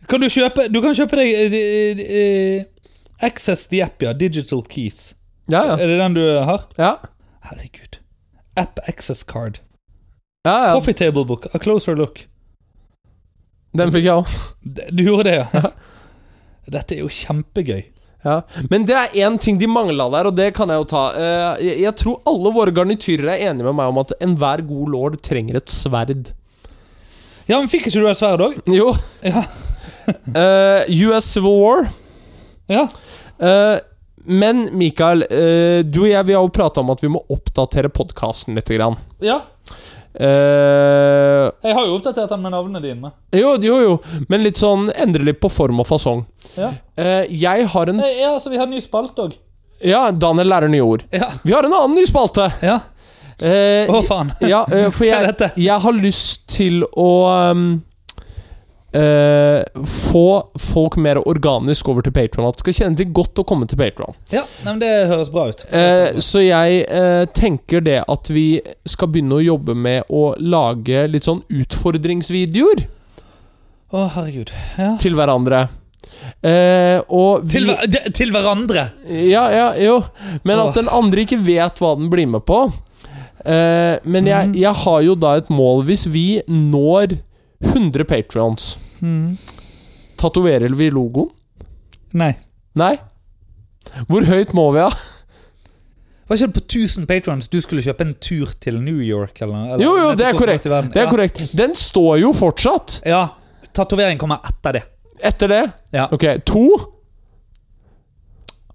B: Kan du kjøpe Du kan kjøpe deg eh, eh, eh, Access the app, ja. Digital keys.
A: ja, ja.
B: Er det den du har?
A: ja.
B: Herregud. App access card.
A: ja, ja.
B: Coffee table book. A closer look.
A: Den fikk jeg òg.
B: D- Du gjorde det, ja? [laughs] Dette er jo kjempegøy.
A: Ja. Men det er én ting de mangla der, og det kan jeg jo ta. Eh, jeg, jeg tror alle våre garnityrer er enige med meg om at enhver god lord trenger et sverd.
B: Ja, men Fikk ikke du et sverd òg?
A: Jo.
B: [laughs] Ja.
A: [laughs] Eh, US Civil War.
B: Ja.
A: Eh, men Mikael, eh, du og jeg vi har jo prata om at vi må oppdatere podkasten litt. Grann.
B: ja.
A: Eh,
B: Jeg har jo oppdatert den med navnene dine.
A: jo, jo, jo. Men litt sånn endre litt på form og fasong.
B: Ja,
A: Eh, jeg har en
B: Nei, ja så vi har ny spalte òg.
A: Ja, Daniel lærer nye ord.
B: Ja.
A: Vi har en annen ny spalte!
B: ja.
A: Eh,
B: Å, faen.
A: Ja, eh, for
B: Hva er [laughs]
A: jeg,
B: dette?
A: jeg har lyst til å ehm, eh, få folk mer organisk over til Patron. At det skal kjenne til godt å komme til Patron.
B: Ja, nei, men Det høres bra ut.
A: Eh, så jeg eh, tenker det at vi skal begynne å jobbe med å lage litt sånn utfordringsvideoer
B: Å, herregud. Ja.
A: til hverandre. Eh, og
B: Til,
A: vi-
B: hver- de- til hverandre!
A: Ja, ja, jo. Men
B: Åh.
A: at den andre ikke vet hva den blir med på. Eh, men jeg,
B: Mm.
A: jeg har jo da et mål. Hvis vi når 100 patrions, Mm. tatoverer vi logoen?
B: Nei.
A: Nei? Hvor høyt må vi, da?
B: Var ikke det på 1000 patrons du skulle kjøpe en tur til New York? Eller, eller,
A: Jo, jo,
B: vet
A: det
B: du
A: er
B: hvordan
A: korrekt.
B: i verden?
A: Det er
B: ja.
A: korrekt. Den står jo fortsatt.
B: Ja. Tatovering kommer etter det.
A: Etter det
B: Ja.
A: Ok, to?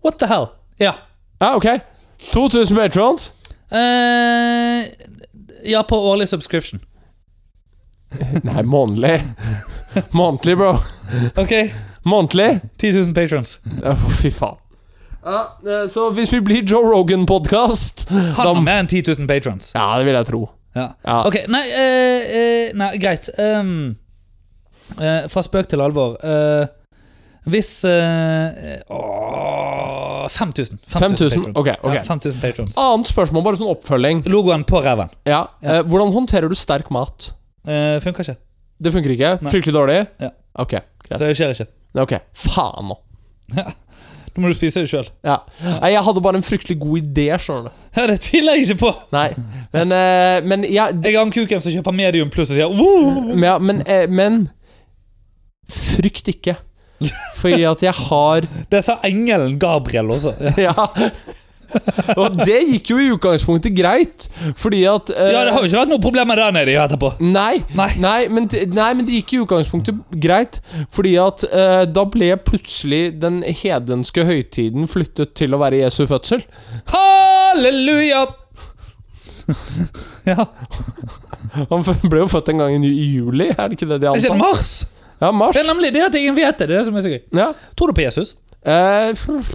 B: What the hell? Ja.
A: Ja, ok. 2000 patrons.
B: Eh, ja, på årlig subscription.
A: Nei, månedlig. Månedlig, bro.
B: Ok, 10
A: Månedlig.
B: 000 patrons.
A: Ja, fy faen. Ja, eh, så hvis vi blir Joe Rogan-podkast
B: Han har mer enn 10 000 patrons.
A: Ja, det vil jeg tro.
B: Ja.
A: Ja.
B: Ok, nei, eh, eh, nei greit. Ehm, eh, fra spøk til alvor. Eh, hvis eh, åh, 5000.
A: 5000,
B: patrons.
A: ok, ok.
B: Ja, 5000 patrons.
A: Annet spørsmål, bare sånn oppfølging.
B: Logoen på ræven.
A: Ja. Eh, hvordan håndterer du sterk mat?
B: Eh, funker ikke.
A: Det funker ikke?
B: Nei.
A: Fryktelig dårlig?
B: Ja.
A: Ok. greit.
B: Så det skjer ikke.
A: Ok, Faen nå.
B: Da må du spise det sjøl.
A: Ja. Nei, jeg hadde bare en fryktelig god idé, skjønner du.
B: Ja, det tviler jeg ikke på!
A: Nei, men eh, Men jeg
B: Jeg har en kuken som kjøper medium pluss og sier wow!
A: men, ja, men, eh, men Frykt ikke. Fordi at jeg har [laughs]
B: Det sa engelen Gabriel også.
A: Ja. Og det gikk jo i utgangspunktet greit, fordi at eh,
B: Ja, det har jo ikke vært noe problem med det der nede etterpå.
A: Nei,
B: Nei.
A: nei, men, det- nei, men det gikk i utgangspunktet greit. Fordi at eh, da ble plutselig den hedenske høytiden flyttet til å være Jesu fødsel.
B: Halleluja! [laughs] ja.
A: Han f- ble jo født en gang i, ny- i juli, er det ikke det de
B: Er ikke det
A: antar?
B: Mars?
A: Ja, mars.
B: Det er nemlig det at ingen vet det. Det er det som er så gøy.
A: Ja.
B: Tror du på Jesus?
A: Eh, pff.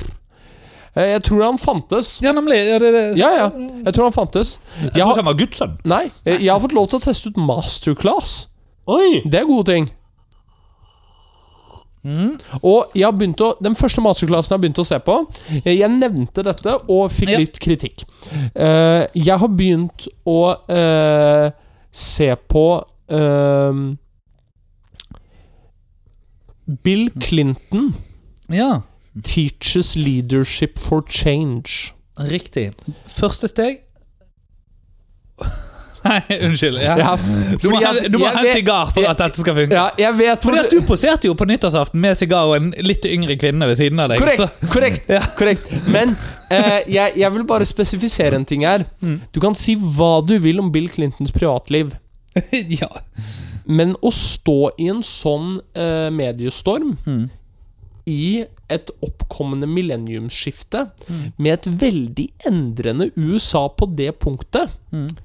A: Eh, jeg tror han fantes.
B: Ja, nemlig. Ja, det, er det.
A: Ja, ja. Jeg tror han fantes. Jeg
B: Jeg
A: har,
B: trodde han var Guds sønn.
A: nei, eh, jeg har fått lov til å teste ut masterclass.
B: Oi!
A: Det er gode ting.
D: Mm.
A: Og jeg har begynt å, den første masterclassen jeg har begynt å se på eh, Jeg jeg nevnte dette og fikk
B: Ja.
A: litt kritikk. Eh, jeg har begynt å eh, se på ehm, eh, Bill
B: Mm.
A: Clinton
D: Ja,
A: teaches leadership for change.
D: riktig. Første
B: [laughs]
D: steg Nei, unnskyld. Ja.
B: [laughs]
A: Ja,
B: Du må,
A: fordi
B: hen-
A: at
B: du må
A: jeg
B: ha en
A: vet-
B: sigar for at dette skal funke.
A: Ja, jeg vet hvor
B: Fordi at
A: det-
B: Du poserte jo på nyttårsaften med sigar og en litt yngre kvinne ved siden av deg.
A: Korrekt!
B: så- [laughs]
A: korrekt, korrekt. Men eh, jeg, jeg vil bare spesifisere en ting her.
D: Mm.
A: Du kan si hva du vil om Bill Clintons privatliv.
D: ja.
A: Men å stå i en sånn eh, mediestorm
D: Mm.
A: i et oppkommende millenniumsskifte med et veldig endrende USA på det punktet
D: Mm.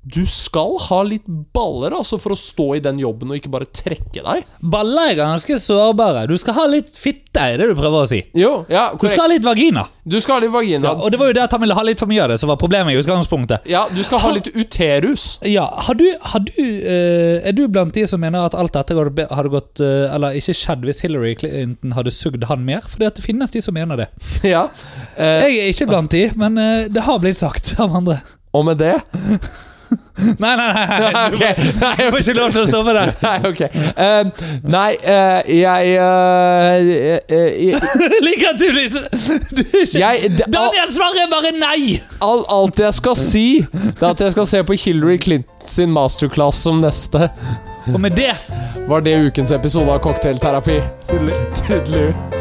A: Du skal ha litt baller altså for å stå i den jobben og ikke bare trekke deg.
B: Baller er ganske sårbare. Du skal ha litt fitte, er det du prøver å si.
A: Jo, ja,
B: Du skal
A: korrekt.
B: ha litt vagina.
A: Du skal ha litt vagina.
B: Ja, og det var jo det at han ville ha litt for mye av det som var problemet i utgangspunktet.
A: Ja, du skal ha litt uterus.
B: Ja, har du, har du, eh, Er du blant de som mener at alt dette går- hadde gått eh, Eller ikke skjedd hvis Hillary Clinton hadde sugd han mer? Fordi at det finnes de som mener det.
A: [laughs] Ja. Eh,
B: Jeg er ikke blant de, men eh, det har blitt sagt av [laughs] andre.
A: og med [laughs] det
B: Nei, nei, nei! nei.
A: Nei, ok. Nei,
B: Jeg får ikke lov til å stoppe [laughs] der.
A: Nei, ok. Eh, nei, eh, jeg eh, eh, eh,
B: Jeg Liker at du litt du er ikke
A: Jeg [laughs] det, al,
B: Daniel svarer bare nei!
A: al, Alt jeg skal si, det er at jeg skal se på Hillary Clinton sin masterclass som neste.
B: Og med det
A: Var det ukens episode av Cocktailterapi? Tydelig. Tydelig.